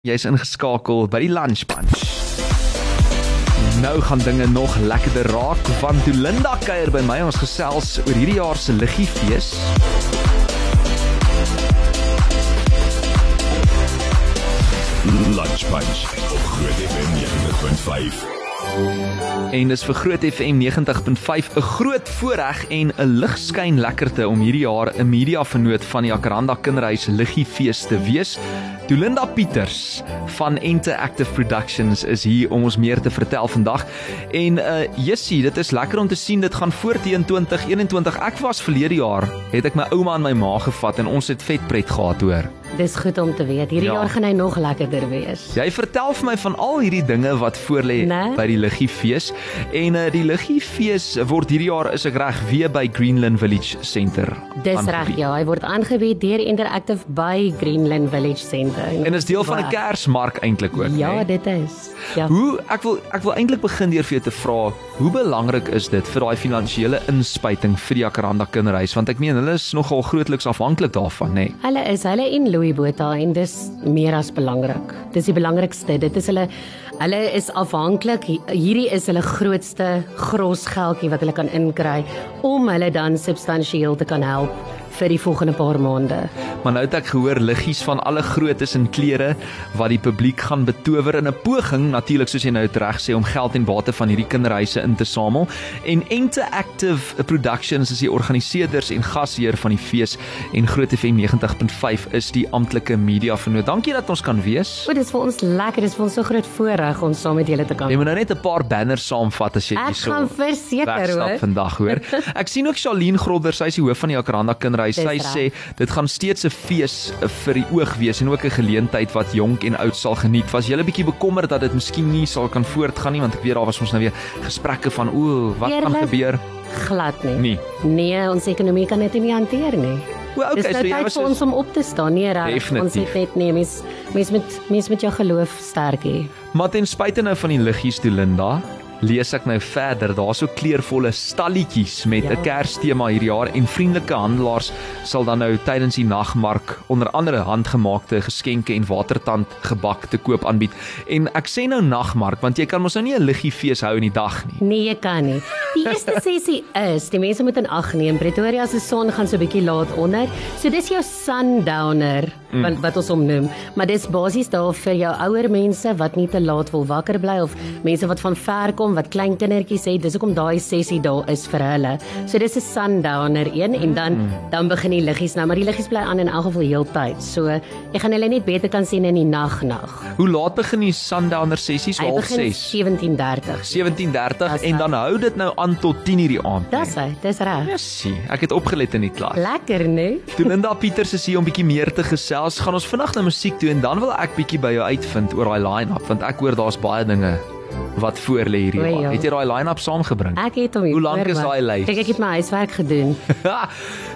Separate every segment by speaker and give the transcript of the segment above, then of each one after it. Speaker 1: Jy's ingeskakel by die Lunch Punch. Nou gaan dinge nog lekkerder raak want Olinda kuier by my ons gesels oor hierdie jaar se liggie fees.
Speaker 2: Lunch Punch op Groot FM 90.5.
Speaker 1: En dis vir Groot FM 90.5 'n groot voorreg en 'n ligskyn lekkerte om hierdie jaar 'n mediavenoot van die Jacaranda Kinderhuis Liggie Fees te wees. Dolinda Pieters van Interactive Productions is hier om ons meer te vertel vandag. En uh Jessie, dit is lekker om te sien dit gaan voort teen 2021. Ek was verlede jaar het ek my ouma en my ma gevat en ons het vet pret gehad hoor.
Speaker 3: Dis goed om te weet. Hierdie
Speaker 1: Ja.
Speaker 3: ja. jaar gaan hy nog lekkerder wees.
Speaker 1: Jy vertel vir my van al hierdie dinge wat voorlê
Speaker 3: Né?
Speaker 1: by die Liggie Fees en uh, die Liggie Fees word hierdie jaar is ek reg weer by Greenland Village Center.
Speaker 3: Dis
Speaker 1: aangebied.
Speaker 3: reg ja, hy word aangebied deur Interactive by Greenland Village Centre.
Speaker 1: En is deel van 'n
Speaker 3: kerk.
Speaker 1: Kersmark eintlik ook.
Speaker 3: Ja,
Speaker 1: né?
Speaker 3: dit is. Ja.
Speaker 1: Hoe ek wil ek wil eintlik begin deur vir jou te vra, hoe belangrik is dit vir daai finansiële inspuiting vir die Jacaranda Kinderhuis want ek meen hulle is nogal grootliks afhanklik daarvan, nê? Nee.
Speaker 3: Hulle is hulle en Louis Botha en dis meer as belangrik. Dis die belangrikste. Dit is hulle hulle is afhanklik. Hi- Hierdie is hulle grootste grosgeldjie wat hulle kan inkry om hulle dan substansieel te kan help vir die volgende paar maande.
Speaker 1: Maar nou het ek gehoor liggies van alle groottes en klere wat die publiek gaan betower in 'n poging natuurlik soos jy nou dit reg sê om geld en bate van hierdie kinderhuise in te samel. En Interactive Productions is die organiseerders en gasheer van die fees en Groot FM 90.5 is die amptelike media vernoot. Dankie dat ons kan wees.
Speaker 3: O, dis vir ons lekker. Dis vir ons so groot voorreg om saam met julle te kan
Speaker 1: Jy moet nou net 'n paar banners saamvat as jy
Speaker 3: Ek
Speaker 1: hierso
Speaker 3: gaan verseker
Speaker 1: wegstap
Speaker 3: hoor.
Speaker 1: vandag hoor. Ek sien ook Shaleen Grobler, sy is die hoof van die Jacaranda Kinderhuis.
Speaker 3: Dis
Speaker 1: Sy
Speaker 3: reg.
Speaker 1: sê dit gaan steeds 'n fees eh, vir die oog wees en ook 'n geleentheid wat jonk en oud sal geniet. Was jy 'n bietjie bekommerd dat dit miskien nie sal kan voortgaan nie want ek weet daar was ons nou weer gesprekke van o, wat gaan
Speaker 3: Eerlik?
Speaker 1: gebeur?
Speaker 3: Glad nie.
Speaker 1: Nee.
Speaker 3: Nee, ons ekonomie kan dit nie hanteer nie.
Speaker 1: O, okay,
Speaker 3: Dis nou
Speaker 1: so jy
Speaker 3: tyd
Speaker 1: was
Speaker 3: vir ons om op te staan. Nee, reg.
Speaker 1: Definitief.
Speaker 3: Ons het net nee, mens mens met mens met jou geloof sterk hê.
Speaker 1: Maar ten spyte nou van die liggies toe Linda, lees ek nou verder. Daar's so kleurvolle stalletjies met 'n
Speaker 3: Ja.
Speaker 1: kerstema hierdie jaar en vriendelike handelaars sal dan nou tydens die nagmark onder andere handgemaakte geskenke en watertand gebak te koop aanbied. En ek sê nou nagmark want jy kan mos nou nie 'n liggie fees hou in die dag nie.
Speaker 3: Nee, jy kan nie. Die eerste sessie is, die mense moet in ag neem. Pretoria se son gaan so bietjie laat onder. So dis jou sundowner mm. wat wat ons hom noem. Maar dis basies daar vir jou ouer mense wat nie te laat wil wakker bly of mense wat van ver kom wat klein kindertjies het. Dis hoekom daai sessie daar is vir hulle. So dis 'n sundowner een en dan dan begin die liggies nou, maar die liggies bly aan in elk geval heeltyd. So jy gaan hulle net beter kan sien in die nag nag.
Speaker 1: Hoe laat begin die sundowner sessies?
Speaker 3: Nee. Hy
Speaker 1: Half
Speaker 3: begin
Speaker 1: 6,
Speaker 3: 17:30.
Speaker 1: 17:30
Speaker 3: Dis
Speaker 1: en
Speaker 3: reg.
Speaker 1: dan hou dit nou aan tot 10:00 die aand.
Speaker 3: Dis hy, dis reg.
Speaker 1: Jessie, ek het opgelet in die klas.
Speaker 3: Lekker, nee?
Speaker 1: Toe Linda Pieters is hier om bietjie meer te gesels, gaan ons vinnig na musiek toe en dan wil ek bietjie by jou uitvind oor daai line-up want ek hoor daar's baie dinge wat voor lê hierdie
Speaker 3: O,
Speaker 1: jaar.
Speaker 3: ja.
Speaker 1: Het jy daai line-up saamgebring?
Speaker 3: Ek het hom. hier
Speaker 1: Hoe lank is
Speaker 3: voorberei.
Speaker 1: daai lys?
Speaker 3: Kyk, ek het my huiswerk gedoen.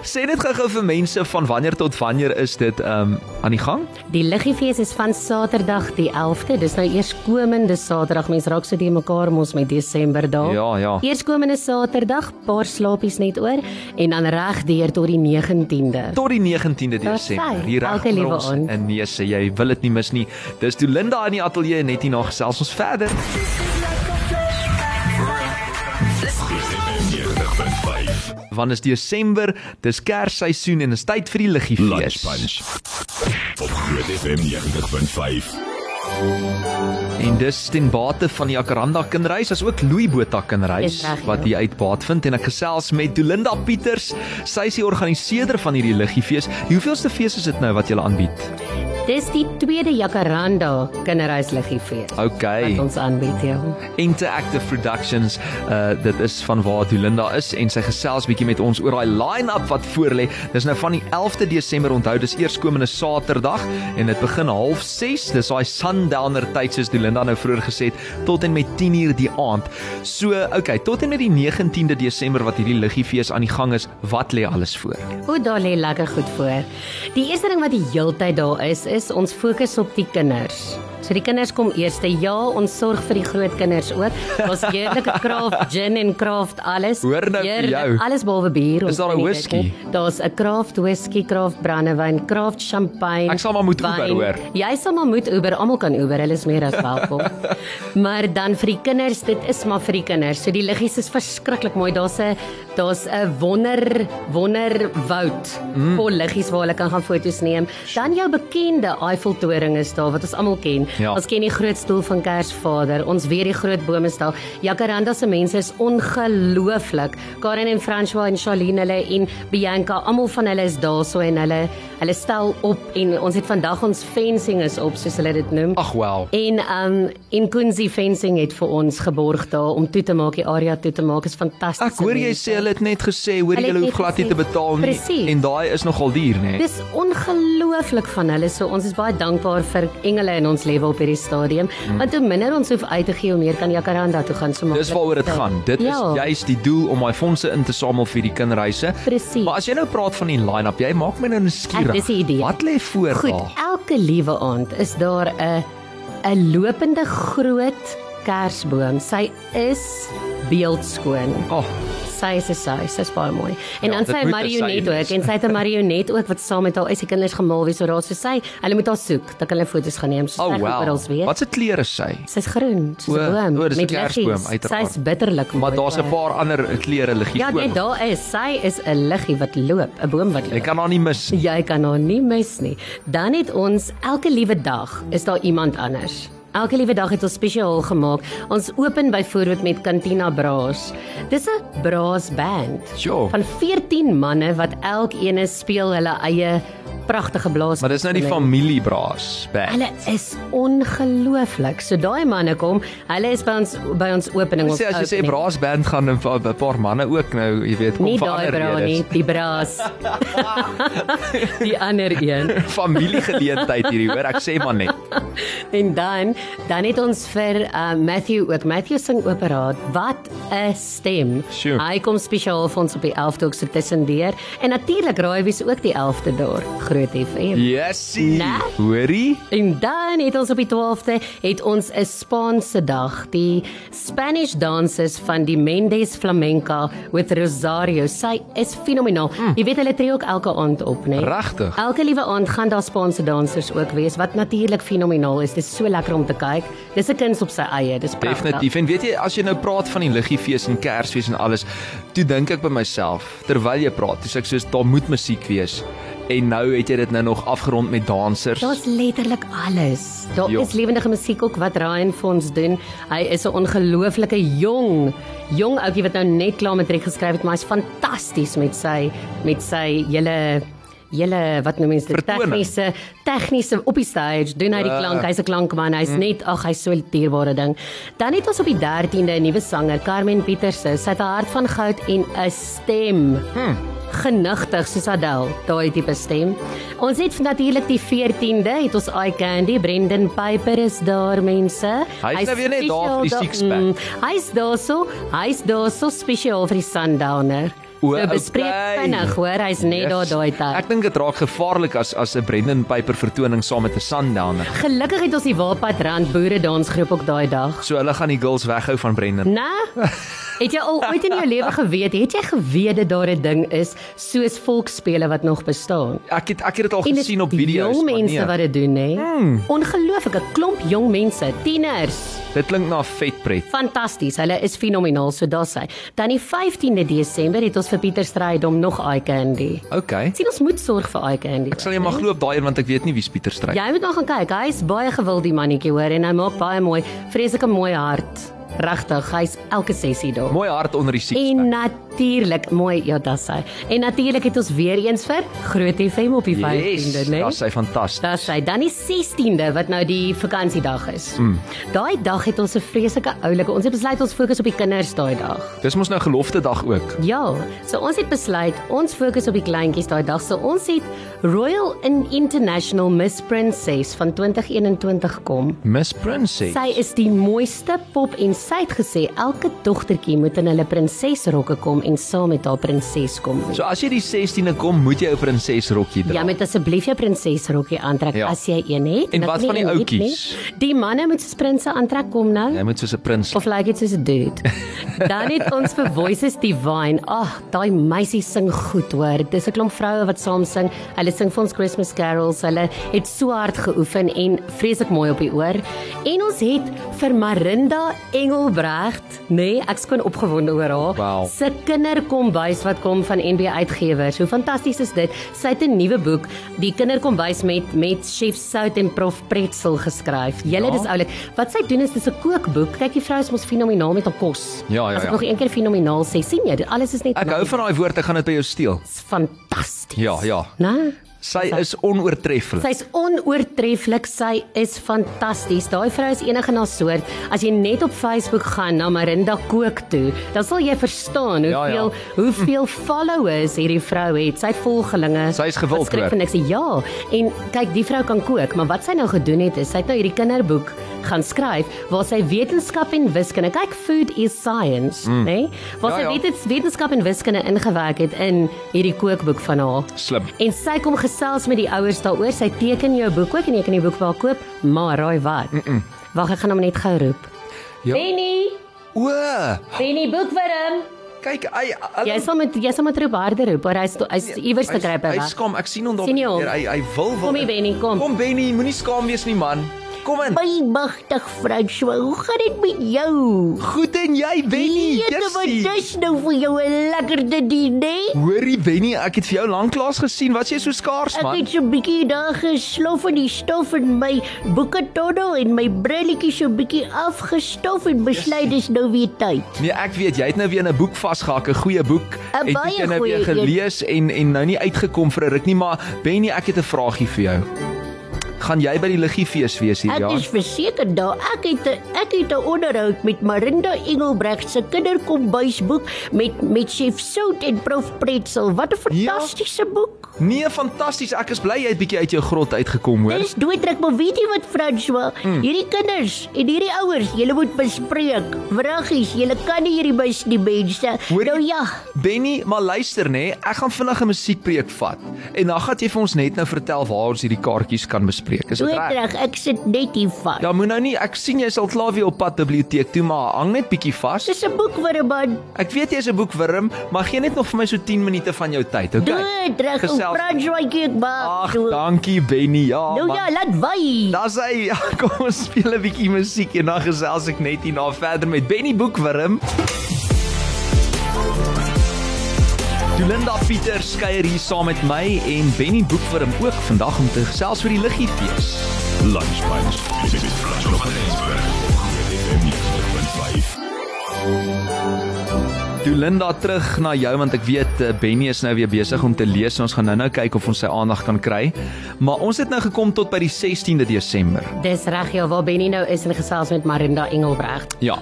Speaker 1: Sê dit gou-gou vir mense van wanneer tot wanneer is dit ehm um, aan die gang?
Speaker 3: Die liggiefees is van Saterdag die 11de. Dis nou eers komende Saterdag. Mense raak so die mekaar mos met Desember daar.
Speaker 1: Ja, ja.
Speaker 3: Eerskomende Saterdag, paar slaapies net oor en dan regdeur tot die 19de.
Speaker 1: Tot die 19de
Speaker 3: Daar's
Speaker 1: Desember.
Speaker 3: hy.
Speaker 1: Hier reg
Speaker 3: Elke
Speaker 1: onder
Speaker 3: liewe
Speaker 1: ons
Speaker 3: aand.
Speaker 1: in Neuse. Jy wil dit nie mis nie. Dis toe Linda in die ateljee net hierna gesels ons verder.
Speaker 2: Groot FM 90.5.
Speaker 1: Want is Desember, dis Kersseisoen en is tyd vir die liggie
Speaker 2: Lunch
Speaker 1: fees.
Speaker 2: Punch op Groot FM 90.5.
Speaker 1: En dis ten bate van die Jacaranda Kinderhuis as ook Louis Botha Kinderhuis
Speaker 3: Dis reg, ja.
Speaker 1: wat hier uitbaat vind en ek gesels met Dolinda Pieters. Sy is die organiseerder van hierdie liggiefees. Die hoeveelste fees is dit nou wat julle aanbied?
Speaker 3: Dis die tweede Jacaranda Kinderhuis liggiefees.
Speaker 1: OK.
Speaker 3: Wat ons aanbied, ja.
Speaker 1: Interactive Productions. Uh dit is vanwaar Dolinda is en sy gesels bietjie met ons oor daai line-up wat voor lê. Dis nou van die 11de Desember onthou, dis eerskomende Saterdag en dit begin half 6. Dis daai sundowner tyd soos Dolinda nou vroeër gesê het tot en met 10uur die aand. So, okay, tot en met die 19de Desember wat hierdie liggiefees aan die gang is, wat lê alles voor?
Speaker 3: O, daar lê lekker goed voor. Die eerste ding wat die heeltyd daar is, is ons fokus op die kinders. So die kinders kom eers. Ja, ons sorg vir die groot kinders ook. Ons heerlike craft gin en craft alles.
Speaker 1: Hoor nou vir
Speaker 3: Heerlik,
Speaker 1: jou.
Speaker 3: Alles behalwe bier. ons
Speaker 1: daar 'n
Speaker 3: kan nie
Speaker 1: whisky?
Speaker 3: dit nie. Daar's 'n craft whisky, craft brandewyn, craft champagne.
Speaker 1: Ek sal maar moet
Speaker 3: wyn.
Speaker 1: Uber, hoor.
Speaker 3: Jy sal maar moet Uber, almal kan Uber, hulle is meer as welkom. maar dan vir die kinders, dit is maar vir die kinders. So die liggies is verskriklik mooi. Daar's 'n daar's 'n wonder wonderwoud mm. vol liggies waar hulle kan gaan foto's neem. Dan jou bekende Eiffeltoring is daar wat ons almal ken.
Speaker 1: Ja.
Speaker 3: Ons ken die groot stoel van Kersvader. Ons weet die groot bome is daar. Jacaranda se mense is ongelooflik. Karen en François en Charlene hulle en Bianca, almal van hulle is daarso en hulle hulle stel op en ons het vandag ons fencing is op soos hulle dit noem.
Speaker 1: Ag wel.
Speaker 3: En um en Kunzi fencing het vir ons geborg daar om toe te maak, die area toe te maak is fantasties.
Speaker 1: Ek hoor jy sê hulle het net gesê hoor
Speaker 3: Hulle
Speaker 1: jy
Speaker 3: het
Speaker 1: hulle hoef
Speaker 3: net
Speaker 1: glad nie
Speaker 3: gesê.
Speaker 1: te betaal nie
Speaker 3: Presies.
Speaker 1: en daai is nogal duur nê.
Speaker 3: Dis ongelooflik van hulle. So ons is baie dankbaar vir engele in ons lewe op hierdie stadium. Mm. Want hoe minder ons hoef uit te gee, hoe meer kan Jacaranda toe gaan so maklik.
Speaker 1: Dis waaroor dit gaan. Dit is
Speaker 3: Ja.
Speaker 1: juis die doel om daai fondse in te samel vir die kinderreise.
Speaker 3: Presies.
Speaker 1: Maar as jy nou praat van die line-up, jy maak my nou nuuskierig.
Speaker 3: Ek, dis die idee.
Speaker 1: Wat lê voor
Speaker 3: Goed,
Speaker 1: daar?
Speaker 3: elke liewe aand is daar 'n 'n lopende groot Kersboom. Sy is beeldskoon.
Speaker 1: Oh,
Speaker 3: Sy is 'n sy, sy's baie mooi. En
Speaker 1: Ja,
Speaker 3: dan
Speaker 1: dit
Speaker 3: sy
Speaker 1: moet
Speaker 3: 'n
Speaker 1: 'n sy
Speaker 3: marionet
Speaker 1: wees.
Speaker 3: ook en sy het 'n marionet ook wat saam met haar is die kinders gemaal wie so daar so sy. Hulle moet haar soek, dan kan hulle foto's gaan neem. So
Speaker 1: oh
Speaker 3: sy gaan
Speaker 1: wow.
Speaker 3: oral weer.
Speaker 1: Wat se kleure is sy?
Speaker 3: Sy's groen, soos 'n
Speaker 1: O,
Speaker 3: boom
Speaker 1: o, dis 'n
Speaker 3: met
Speaker 1: kersboom,
Speaker 3: liggies.
Speaker 1: uiteraard.
Speaker 3: Sy's bitterlik mooi.
Speaker 1: Maar daar's 'n
Speaker 3: ook.
Speaker 1: paar ander kleure liggie
Speaker 3: eh. Ja, net
Speaker 1: ook.
Speaker 3: daar is. Sy is 'n liggie wat loop, 'n boom wat
Speaker 1: Jy
Speaker 3: loop.
Speaker 1: kan haar nie mis. nie.
Speaker 3: Jy kan haar nie mis nie. Dan het ons elke liewe dag is daar iemand anders. Elke liewe dag het ons spesiaal gemaak. Ons open byvoorbeeld met Cantina Braas. Dis 'n braas band
Speaker 1: Sjoe.
Speaker 3: van 14 manne wat elkeen speel hulle eie pragtige blaas.
Speaker 1: Maar dis nou die familiebraas. Bang.
Speaker 3: Hulle is ongelooflik. So daai manne kom, hulle is by ons by ons opening
Speaker 1: Sê as jy sê braasband gaan 'n pa- 'n paar manne ook nou, jy weet, kom
Speaker 3: nie
Speaker 1: vir
Speaker 3: daai
Speaker 1: ander
Speaker 3: bra nie,
Speaker 1: redes.
Speaker 3: die braas. die ander een.
Speaker 1: Familiegeleentheid hierdie, hoor, ek sê maar net.
Speaker 3: En dan dan het ons vir uh, Matthew ook Matthew sing opera. Wat 'n stem.
Speaker 1: Sjoe.
Speaker 3: Hy kom spesiaal vir ons op die 11de ook so tussendeur en natuurlik raai wie's ook die 11de daar, Groot FM.
Speaker 1: Yesie.
Speaker 3: Né?
Speaker 1: Hoorie?
Speaker 3: En dan het ons op die 12de het ons 'n Spaanse dag, die Spanish Dances van die Mendes Flamenca with Rosario. Sy is fenomenaal. Mm. Jy weet hulle tree ook elke aand op, né?
Speaker 1: Regtig?
Speaker 3: Elke liewe aand gaan daar Spaanse dansers ook wees wat natuurlik fenomenaal is. Dit is so lekker om te kyk. Dis 'n kuns op sy eie. Dis pragtig.
Speaker 1: Definitief. En weet jy, as jy nou praat van die liggiefees en Kersfees en alles, toe dink ek by myself terwyl jy praat, dis ek soos daar moet musiek wees. En nou het jy dit nou nog afgerond met dansers.
Speaker 3: Daar's letterlik alles. Daar
Speaker 1: Ja.
Speaker 3: is lewendige musiek ook wat Ryan vir ons doen. Hy is 'n ongelooflike jong, jong ouetjie wat nou net klaar matriek geskryf het, maar hy's fantasties met sy met sy hele hele wat noem mense dit
Speaker 1: Vertoning.
Speaker 3: tegniese tegniese op die stage doen hy die
Speaker 1: Ah.
Speaker 3: klank hy's 'n klankman hy's mm. net ag hy's so 'n dierbare ding dan het ons op die 13de 'n nuwe sanger Carmen Pieterse sy het 'n hart van goud en 'n stem
Speaker 1: Hm.
Speaker 3: hmm genigtig soos Adele, daai tipe stem. Ons het natuurlik die 14de het ons Eye Candy, Brendan Piper is daar mense.
Speaker 1: Hy is nou weer net daar vir die
Speaker 3: spesiaal
Speaker 1: sixpack.
Speaker 3: Mm, Hy's daarso, hy's daarso spesiaal vir die Sundowner.
Speaker 1: O,
Speaker 3: so bespreek
Speaker 1: okay.
Speaker 3: vinnig hoor, hy's net yes. daar daai
Speaker 1: Ek
Speaker 3: tyd.
Speaker 1: dink dit raak gevaarlik as as 'n Brendan Piper vertoning saam met 'n Sundowner.
Speaker 3: Gelukkig het ons die Waalpad Rand boere dansgroep ook daai dag.
Speaker 1: So hulle gaan die girls weghou van Brendan.
Speaker 3: Na? Het jy al ooit in jou lewe geweet, het jy geweet dat daar 'n ding is soos volksspele wat nog bestaan?
Speaker 1: Ek het ek het dit al
Speaker 3: En
Speaker 1: gesien op video's.
Speaker 3: jong
Speaker 1: maar
Speaker 3: mense
Speaker 1: nee, Hmm.
Speaker 3: wat dit doen, hè? Mm. Ongelooflike klomp jong mense, tieners.
Speaker 1: Dit klink na 'n vetpret.
Speaker 3: Fantasties, hulle is fenomenaal, so daar's hy. Dan die 15de Desember het ons vir Pieter Strydom nog Eye Candy.
Speaker 1: Okay.
Speaker 3: Sien ons moet sorg vir Eye Candy.
Speaker 1: Ek sal jy maar glo op daai een want ek weet nie wie Pieter stry.
Speaker 3: Jy moet nog gaan kyk. Hy is baie gewild die mannetjie hoor en hy maak baie mooi, vreeslike mooi hart. Regtig, hy's elke sessie daar.
Speaker 1: Mooi hart onder die
Speaker 3: En nou
Speaker 1: sixpack.
Speaker 3: natuurlik, mooi, ja, dis hy. En natuurlik het ons weer eens vir Groot FM op die 15de,
Speaker 1: Yes,
Speaker 3: né?
Speaker 1: ja, sy fantasties.
Speaker 3: Dis hy. Dan die 16de wat nou die vakansiedag is. Mm. Daai dag het ons 'n vreeslike oulike. Ons het besluit ons fokus op die kinders daai dag.
Speaker 1: Dis mos nou gelofte dag ook.
Speaker 3: Ja, so ons het besluit ons fokus op die kleintjies daai dag. So ons het Royal and International Miss Princess van 2021 kom.
Speaker 1: Miss Princess.
Speaker 3: Sy is die mooiste pop en sy het gesê elke dogtertjie moet in hulle prinsesrokke kom en saam met haar prinses kom.
Speaker 1: So as jy die 16e kom, moet jy 'n prinsesrokkie dra.
Speaker 3: Ja, met asseblief jou prinsesrokkie aantrek
Speaker 1: Ja.
Speaker 3: ja. as jy een het.
Speaker 1: En
Speaker 3: Dit
Speaker 1: wat
Speaker 3: nie
Speaker 1: van die Ja.
Speaker 3: een het nie.
Speaker 1: ouetjies?
Speaker 3: Die manne moet soos prinses aantrek kom nou.
Speaker 1: Jy moet soos 'n prins
Speaker 3: Of lyk like dit soos 'n dude? Dan het ons vir Voices Divine. Ag, daai meisie sing goed hoor. Dis 'n klomp vroue wat saam sing. Hulle sing vir ons Christmas carols. Hulle het so hard geoefen en vreeslik mooi op die oor. En ons het vir Marinda Engelbregt, nê, nee, ek skoon opgewonde oor haar.
Speaker 1: Wow.
Speaker 3: Se kinderkombuis wat kom van NB Uitgewers. Hoe fantasties is dit? Sy het 'n nuwe boek, Die Kinderkombuis met met Chef Sout en Prof Pretzel geskryf. Julle
Speaker 1: Ja.
Speaker 3: ja. dis oulik. Wat sy doen is dis 'n kookboek. Kyk, die vrou is mos fenomenaal met haar kos.
Speaker 1: Ja, ja,
Speaker 3: As ek
Speaker 1: ja.
Speaker 3: nog een keer fenomenaal sê, sien jy, dit alles is net
Speaker 1: Ek hou van daai woord, ek gaan dit by jou steel.
Speaker 3: Dis fantasties. Nou?
Speaker 1: Ja, ja.
Speaker 3: Na?
Speaker 1: Sy is onoortreffelik.
Speaker 3: Sy's onoortreffelik. Sy is fantasties. Daai vrou is enige na soort. As jy net op Facebook gaan na Marinda Kook toe, dan sal jy verstaan
Speaker 1: Ja, ja.
Speaker 3: hoeveel hoeveel followers hierdie vrou het. Sy volgelinge.
Speaker 1: Sy is gewild,
Speaker 3: Wat skrik
Speaker 1: hoor.
Speaker 3: van niks. Ja, en kyk, die vrou kan kook, maar wat sy nou gedoen het is sy het nou hierdie kinderboek gaan skryf waar sy wetenskap en wiskunde, kyk food is science, mm. né? Nee? Waar
Speaker 1: Ja,
Speaker 3: ja, sy
Speaker 1: ja.
Speaker 3: ja. wetens wetenskap en wiskunde ingewerk het in hierdie kookboek van haar.
Speaker 1: Slim.
Speaker 3: En sy kom gesels met die ouers daaroor. Sy teken jou boek ook en jy kan die boek wel koop, maar raai wat? Mm -mm. Wag, ek gaan hom net gou roep.
Speaker 1: Ja.
Speaker 3: Ja. Benny,
Speaker 1: O,
Speaker 3: Benny boekwurm.
Speaker 1: kyk, hy
Speaker 3: Jy sal met jy sal met roep harder roep, maar hy's hy's iewers te kry by
Speaker 1: Hy
Speaker 3: weg.
Speaker 1: skam, ek sien hom daar.
Speaker 3: Sien jy hom?
Speaker 1: weer. Hy hy wil wil.
Speaker 3: Kom hier, Benny, kom.
Speaker 1: Kom Benny, moenie skaam wees nie man. Kom in.
Speaker 4: My magtig François, hoe gaan dit met jou?
Speaker 1: Goed en jy Benny.
Speaker 4: Jette, wat
Speaker 1: Jessie.
Speaker 4: dis nou vir jou 'n lekkerte diner?
Speaker 1: Hoorie Benny, ek het vir jou lanklaas gesien. Wat is jy so skaars
Speaker 4: Ek
Speaker 1: man?
Speaker 4: het so 'n bietjie daar geslof in die stof en my boeke tonnel en my brilletjie so 'n bietjie afgestof en besluit dis nou weer tyd.
Speaker 1: Nee, ek weet jy het nou weer in 'n boek vasgehak, 'n goeie boek. Het
Speaker 4: baie
Speaker 1: jy nou weer
Speaker 4: goeie een.
Speaker 1: gelees en en nou nie uitgekom vir 'n ruk nie, maar Benny, ek het 'n vragie vir jou. Gaan jy by die liggiefees wees hier ja?
Speaker 4: Ek
Speaker 1: jaar?
Speaker 4: is verseker daar ek het 'n- ek het 'n onderhoud met Marinda Engelbregt se kinderkombuisboek met met chef Sout en prof Pretzel. Wat 'n
Speaker 1: Ja.
Speaker 4: fantastiese boek.
Speaker 1: Nee, fantasties. Ek is bly jy het bietjie uit jou grot uitgekom, hoor.
Speaker 4: Dis doodruk, maar weet jy wat François?
Speaker 1: Hm.
Speaker 4: Mm. Hierdie kinders en hierdie ouers, julle moet bespreek. Wraggies, julle kan nie hierdie mis die mense.
Speaker 1: Hoor jy-
Speaker 4: Nou ja,
Speaker 1: Benny, maar luister nê, ek gaan vinnig 'n musiekpreek vat en dan gaan jy vir ons net nou vertel waar ons hierdie kaartjies kan bespreek. Is dit reg?
Speaker 4: doodruk, ek sit net hier vas. Ja.
Speaker 1: Ja, moet nou nie. Ek sien jy's al klaar weer op pad biblioteek toe, maar hang net bietjie vas.
Speaker 4: Dis 'n boek vir 'n man.
Speaker 1: Ek weet jy's 'n boekwurm, maar gee net nog vir my so 10 minute van jou tyd, okay?
Speaker 4: Doodruk, ou
Speaker 1: Gesels-
Speaker 4: François kyk maar.
Speaker 1: Ag, dankie Benny. Ja.
Speaker 4: Nou
Speaker 1: man.
Speaker 4: ja, laat wy.
Speaker 1: Daar's hy. Ja, kom ons speel 'n bietjie musiek en dan gesels ek net hierna verder met Benny Boekwurm. Linda Pieter skeuier hier saam met my en Benny Boekwurm ook vandag om te gesels oor die liggie fees.
Speaker 2: Lunch Punch met François van Rensburg op Groot FM 90.5.
Speaker 1: Toe Linda terug na jou want ek weet eh, Benny is nou weer besig om te lees en ons gaan nou-nou kyk of ons sy aandag kan kry. Maar ons het nou gekom tot by die 16de Desember.
Speaker 3: Dis reg ja, waar Benny nou is en gesels met Marinda Engelbregt.
Speaker 1: Ja.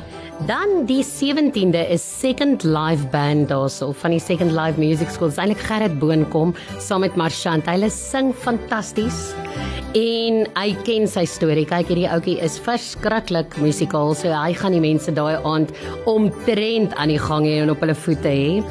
Speaker 3: Dan die 17de is Second Live Band daarso van die Second Live Music School. Dis eintlik Gerrit Boonkom saam met Marchant. Hulle sing fantasties. En hy ken sy storie. Kyk, hierdie ouetjie is verskriklik musikaal, so hy gaan die mense daai aand omtrent aan die gang hê en op hulle voete hê.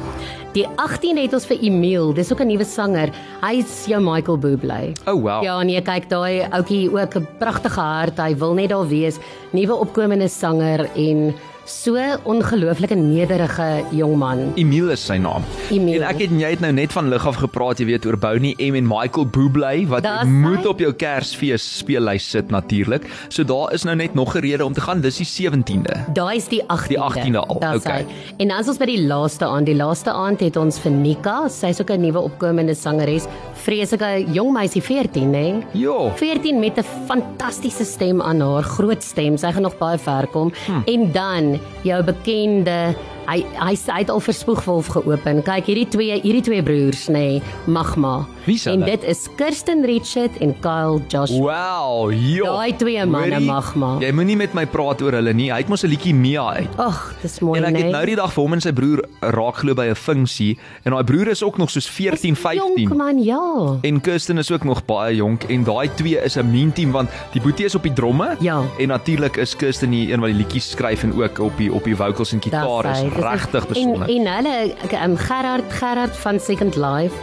Speaker 3: Die 18de het ons vir Emil, dis ook 'n nuwe sanger. Hy's jou Michael Bublé.
Speaker 1: O, Oh, wow.
Speaker 3: Ja, nee, kyk daai ouetjie ook 'n pragtige hart. Hy wil net daar wees, nuwe opkomende sanger en so ongelooflike nederige jong man.
Speaker 1: Emil is sy naam.
Speaker 3: Emil.
Speaker 1: En ek het en jy het nou net van lig af gepraat, jy weet oor Bonnie M en Michael Bublé wat
Speaker 3: Daar's
Speaker 1: moet
Speaker 3: hy.
Speaker 1: op jou Kersfees speellys sit natuurlik. So daar is nou net nog 'n rede om te gaan. Dis die 17de.
Speaker 3: Daai is die 18de.
Speaker 1: Die 18de al,
Speaker 3: Dis
Speaker 1: okay.
Speaker 3: hy. En dan is ons by die laaste aand. Die laaste aand het ons vir Nika, sy's ook 'n nuwe opkomende sangeres, vreeslike jong meisie 14, hè? Nee?
Speaker 1: Jo.
Speaker 3: 14 met 'n fantastiese stem aan haar, groot stem. Sy gaan nog baie ver kom. Hm. En dan jou bekende Hy hy hy het al vir Spoegwolf geopen. Kyk, hierdie twee, hierdie twee broers, nê, nee, Magma.
Speaker 1: Wie is
Speaker 3: en
Speaker 1: hulle?
Speaker 3: dit is Kirsten Richard en Kyle Joshua.
Speaker 1: Wow, joh.
Speaker 3: Daai twee manne
Speaker 1: Hoorie, Ja.
Speaker 3: mag maar.
Speaker 1: Jy moenie met my praat oor hulle nie. Hy het mos 'n liedjie Mia uit.
Speaker 3: Ag, dis mooi,
Speaker 1: En ek
Speaker 3: nê.
Speaker 1: het nou die dag vir hom en sy broer raak glo by 'n funksie en daai broer is ook nog soos 14,
Speaker 3: Jong
Speaker 1: 15.
Speaker 3: man, ja.
Speaker 1: En Kirsten is ook nog baie jonk en daai twee is 'n mean team want die boetie is op die dromme
Speaker 3: Ja.
Speaker 1: en natuurlik is Kirsten die een wat die liedjies skryf en ook op die op die vocals en gitaar
Speaker 3: Dis hy.
Speaker 1: is
Speaker 3: Dis
Speaker 1: regtig
Speaker 3: is- en,
Speaker 1: besonder.
Speaker 3: en hulle ek- ehm Gerard Gerard van Second Life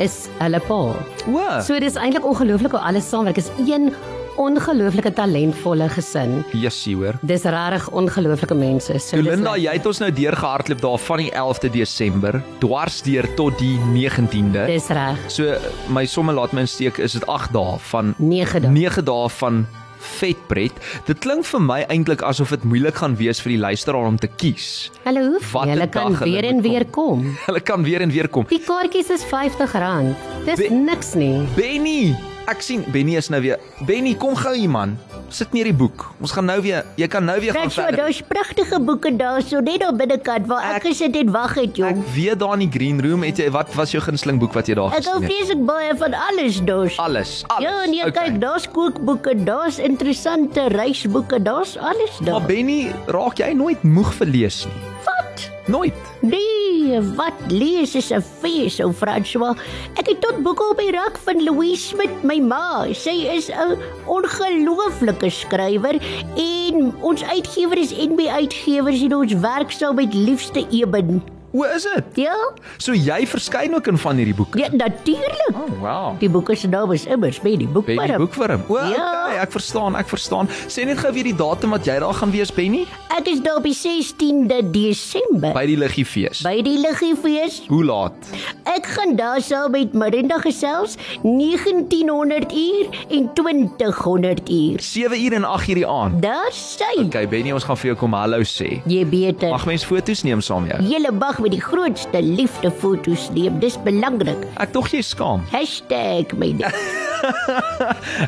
Speaker 3: is hulle pa.
Speaker 1: O,
Speaker 3: So dis eintlik ongelooflik hoe alles saamwerk. Is een ongelooflike talentvolle gesin.
Speaker 1: Jessie hoor.
Speaker 3: Dis regtig ongelooflike mense. So Ja, dis
Speaker 1: Linda,
Speaker 3: lekker.
Speaker 1: jy het ons nou deurgehardloop daar van die 11de Desember dwars deur tot die 19de.
Speaker 3: Dis reg.
Speaker 1: So my somme laat my insteek is dit 8 dae van
Speaker 3: 9
Speaker 4: Ja.
Speaker 3: dae.
Speaker 1: 9 dae van vetpret. Dit klink vir my eintlik asof dit moeilik gaan wees vir die luisteraar om te kies.
Speaker 3: Hulle hoef
Speaker 1: Wat
Speaker 3: nie, hulle
Speaker 1: een
Speaker 3: kan
Speaker 1: dag hulle
Speaker 3: weer en
Speaker 1: moet
Speaker 3: weer kom.
Speaker 1: Hulle kan weer en weer kom.
Speaker 3: Die kaartjies is R50. Dis
Speaker 1: Be-
Speaker 3: niks nie.
Speaker 1: Benny, ek sien Benny is nou weer. Benny, kom gou hier man. Sit neer die boek. Ons gaan nou weer jy kan nou weer gaan
Speaker 4: Ratsjo,
Speaker 1: verder.
Speaker 4: daar's pragtige boeke daarso net daar binnekant waar
Speaker 1: Ek-
Speaker 4: ek gesit en wag het,
Speaker 1: Ek
Speaker 4: jong.
Speaker 1: weet daar in die green room het jy wat was jou gunsteling boek wat jy daar
Speaker 4: Ek hou
Speaker 1: gesien het?
Speaker 4: vreeslik baie van alles dors.
Speaker 1: Alles, alles.
Speaker 4: Ja, nee,
Speaker 1: Okay.
Speaker 4: kyk, daar's kookboeke, daar's interessante reisboeke, daar's alles daar.
Speaker 1: Maar Benny, raak jy nooit moeg vir lees nie?
Speaker 4: Wat?
Speaker 1: Nooit.
Speaker 4: Nee, wat lees is 'n fees, ou François. Ek het tot boeke op die rak van Louise Smit, my ma. Sy is 'n ongelooflike skrywer en ons uitgewer is NB Uitgewers en ons werk saam met liefste Eben.
Speaker 1: O, is dit?
Speaker 4: Ja,
Speaker 1: So jy verskyn ook in van hierdie boeke.
Speaker 4: ja natuurlik.
Speaker 1: Oh, wow.
Speaker 4: Die boeke se naam is immers Benny
Speaker 1: Benny
Speaker 4: Boekworm.
Speaker 1: Boekwurm. O, ja.
Speaker 4: Ja.
Speaker 1: okay, ek verstaan, ek verstaan. Sê net gou weer die datum wat jy daar gaan wees, Benny,
Speaker 4: Ek is daar op die 16de Desember by,
Speaker 1: by die Liggie fees.
Speaker 4: by die Ligiefees.
Speaker 1: Hoe laat?
Speaker 4: Ek gaan daar saam met Marinda gesels 1900 uur en 2000 uur.
Speaker 1: 7 uur en 8 uur die aand.
Speaker 4: Daar sy. Okay.
Speaker 1: Okay, Benny, ons gaan vir jou kom hallo sê.
Speaker 4: Jy beter.
Speaker 1: Mag mens foto's neem saam jou?
Speaker 4: Julle mag met die grootste liefde foto's neem. Dis belangrik.
Speaker 1: Ek tog jy skaam.
Speaker 4: Hashtag my ding.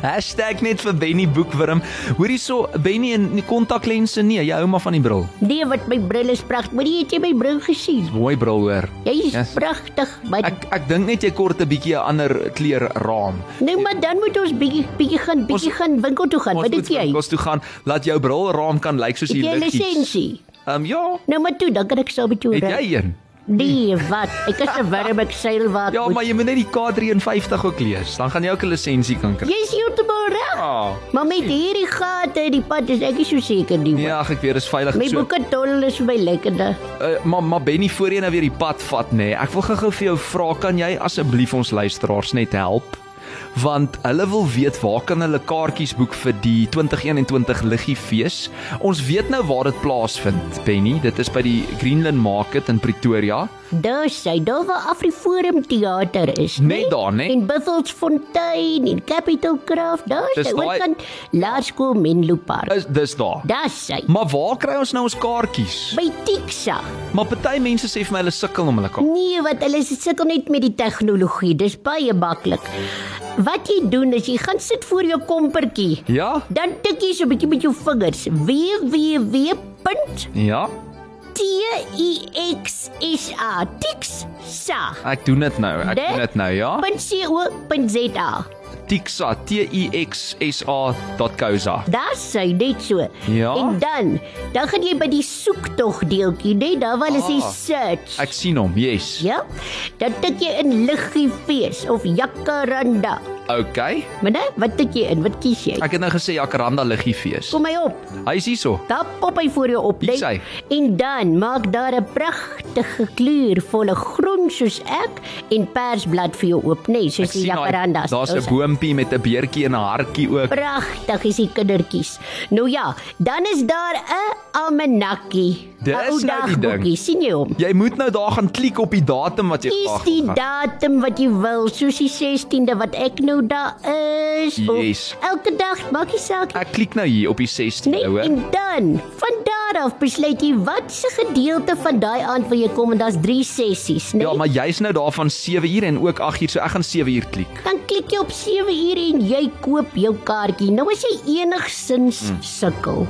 Speaker 1: Hashtag net vir Benny Boekwurm. Hoor hierso, Benny en die kontaklense nee, jy hou maar van die bril.
Speaker 4: Nee, wat my bril is pragtig. Moenie het jy my bril gesien?
Speaker 1: Mooi bril hoor.
Speaker 4: Jy is
Speaker 1: Yes.
Speaker 4: yes. pragtig, man. Ek,
Speaker 1: Ek ek dink net jy kort 'n bietjie 'n ander kleur raam.
Speaker 4: nee, maar dan moet ons bietjie bietjie gaan bietjie gaan winkel toe gaan.
Speaker 1: Ons
Speaker 4: Wat
Speaker 1: moet
Speaker 4: dink jy?
Speaker 1: winkels toe gaan, laat jou brilraam kan lyk soos
Speaker 4: Het
Speaker 1: die
Speaker 4: jy 'n
Speaker 1: liggies.
Speaker 4: lisensie?
Speaker 1: Ehm um, ja,
Speaker 4: Nou maar toe, dan kan ek saam met jou
Speaker 1: het
Speaker 4: ry.
Speaker 1: jy een?
Speaker 4: Nee, wat? Ek is 'n warm ek seil wat.
Speaker 1: Ja,
Speaker 4: moet-
Speaker 1: maar jy moet net die K53 ook lees, dan gaan jy ook 'n lisensie kan kry.
Speaker 4: Jy is heeltemal reg.
Speaker 1: Ja.
Speaker 4: Maar met hierdie gate in die pad is ek nie so seker nie.
Speaker 1: Nee,
Speaker 4: Ja,
Speaker 1: ag ek weet dis veilig
Speaker 4: my
Speaker 1: so.
Speaker 4: boeke tol is vir my lekkerder.
Speaker 1: Uh, maar maar Benny voorheen nou weer die pad vat nê. Nee. Ek wil gou-gou vir jou vra, kan jy asseblief ons luisteraars net help? want hulle wil weet waar kan hulle kaartjies boek vir die 2021 Liggie fees. Ons weet nou waar dit plaasvind, Benny. Dit is by die Greenland Market in Pretoria.
Speaker 4: Daar sy daar waar Afriforum teater is.
Speaker 1: Net daar, né?
Speaker 4: In Buffelsfontein, in Capital Craft, daar
Speaker 1: Dis
Speaker 4: sy
Speaker 1: daai-
Speaker 4: oorkant Laerskool Menlo Park.
Speaker 1: Is dis daar.
Speaker 4: Daar sy
Speaker 1: Maar waar kry ons nou ons kaartjies?
Speaker 4: by Tiksa.
Speaker 1: Maar party mense sê vir my hulle sukkel om hulle kaart.
Speaker 4: Nee, want hulle sukkel net met die tegnologie. Dis baie maklik. Wat jy doen is jy gaan sit voor jou kompertjie.
Speaker 1: Ja?
Speaker 4: Dan tik jy so 'n bietjie met jou vingers. www.
Speaker 1: Ja.
Speaker 4: T E X S A E Tix Sa.
Speaker 1: Ek doen dit nou. Ek doen dit nou, ja.
Speaker 4: .co.za.
Speaker 1: Tixa T I X S A.co.za.
Speaker 4: Daar sê net so.
Speaker 1: Ja.
Speaker 4: En dan, dan gaan jy by die soektog deeltjie, net daar waar hulle sê
Speaker 1: Ah.
Speaker 4: search.
Speaker 1: Ek sien hom. Yes.
Speaker 4: Ja. Dan tik jy in liggie fees of jacaranda.
Speaker 1: Okay.
Speaker 4: Mene, wat tik jy in? Wat kies jy?
Speaker 1: Ek het nou gesê Jacaranda liggie fees.
Speaker 4: Kom my op.
Speaker 1: Hy is hierso.
Speaker 4: Daar pop hy voor jou op,
Speaker 1: Hier
Speaker 4: net.
Speaker 1: is hy.
Speaker 4: En dan maak daar 'n pragtige kleurvolle groen soos ek en persblad vir jou oop, nee, soos
Speaker 1: Ek
Speaker 4: die
Speaker 1: sien daai-
Speaker 4: jacarandas.
Speaker 1: Daar's 'n boontjie met 'n beertjie en 'n hartjie ook.
Speaker 4: Pragtig is die kindertjies. Nou ja, dan is daar 'n almanakkie.
Speaker 1: Dis
Speaker 4: 'n ou
Speaker 1: nou die ding.
Speaker 4: dagboekie, sien jy hom?
Speaker 1: Jy moet nou daar gaan klik op die datum wat jy
Speaker 4: Kies
Speaker 1: graag wil
Speaker 4: die
Speaker 1: gaan.
Speaker 4: datum wat jy wil, soos die 16de wat ek nou daar is. of
Speaker 1: Yes.
Speaker 4: Elke dag maak nie saak.
Speaker 1: Ek klik nou hier op die 16de,
Speaker 4: Nee,
Speaker 1: hoor.
Speaker 4: en dan, van daar af besluit jy watse gedeelte van daai aand wil jy kom en daar's 3 sessies, nee? né?
Speaker 1: Ja, maar jy's nou daar van 7 uur en ook 8 uur, so ek gaan 7 uur klik.
Speaker 4: Dan klik jy op 7 uur en jy koop jou kaartjie. Nou as jy enigsins sukkel,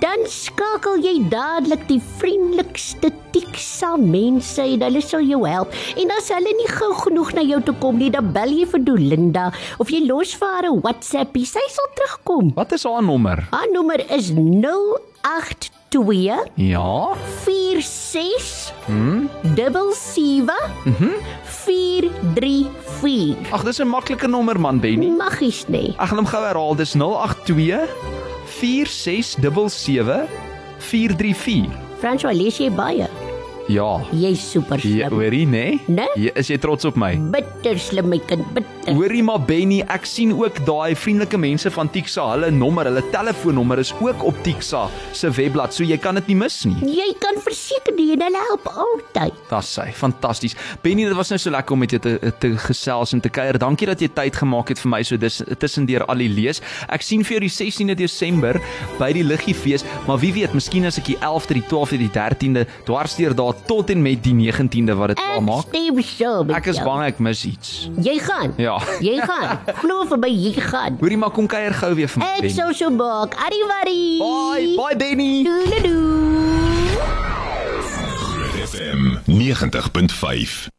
Speaker 4: dan skakel jy dadelik die vriendelikste tiksa mense en hulle sal jou help. En as hulle nie gou genoeg na jou toe kom nie, dan bel jy vir Dolinda of jy los vir haar 'n WhatsAppie. Sy sal terugkom.
Speaker 1: Wat is haar nommer?
Speaker 4: Haar nommer is 082
Speaker 1: Ja,
Speaker 4: 46 77 434.
Speaker 1: ag dis 'n maklike nommer man Benny.
Speaker 4: Magies nie.
Speaker 1: Ek gaan hom gou herhaal. Dis 082 4677 434.
Speaker 4: François lees jy baie.
Speaker 1: Ja.
Speaker 4: Jy's super
Speaker 1: Ja,
Speaker 4: slim.
Speaker 1: hoorie nê?
Speaker 4: Ehm, Né? Ehm.
Speaker 1: Ja, is jy trots op my?
Speaker 4: Bitter slim my kind, bitter.
Speaker 1: Hoorie maar Benny, ek sien ook daai vriendelike mense van Tiksa, hulle nommer, hulle telefoonnommer is ook op Tiksa se webblad, so jy kan dit nie mis nie.
Speaker 4: Jy kan verseker die en hulle help altyd.
Speaker 1: Dis sy, fantasties. Benny, dit was nou so lekker om met jou te te gesels en te kuier. Dankie dat jy tyd gemaak het vir my so dis tussendeur al die lees. Ek sien vir jou die 16de Desember by die Liggie fees, maar wie weet, miskien as ek die 11de, die 12de, die 13de dwarsteer daar tot en met die 19de wat dit klaar
Speaker 4: Ek
Speaker 1: maak.
Speaker 4: stem so met
Speaker 1: Ek is
Speaker 4: jou.
Speaker 1: bang ek mis iets.
Speaker 4: Jy gaan.
Speaker 1: Ja.
Speaker 4: Jy gaan. Glo vir my, jy gaan.
Speaker 1: Hoorie maar kom kuier gou weer vir my.
Speaker 4: Ek
Speaker 1: Benny.
Speaker 4: sou so maak. Arrivederci.
Speaker 1: Bye, bye Benny.
Speaker 4: Doededoe.
Speaker 2: Groot FM 90.5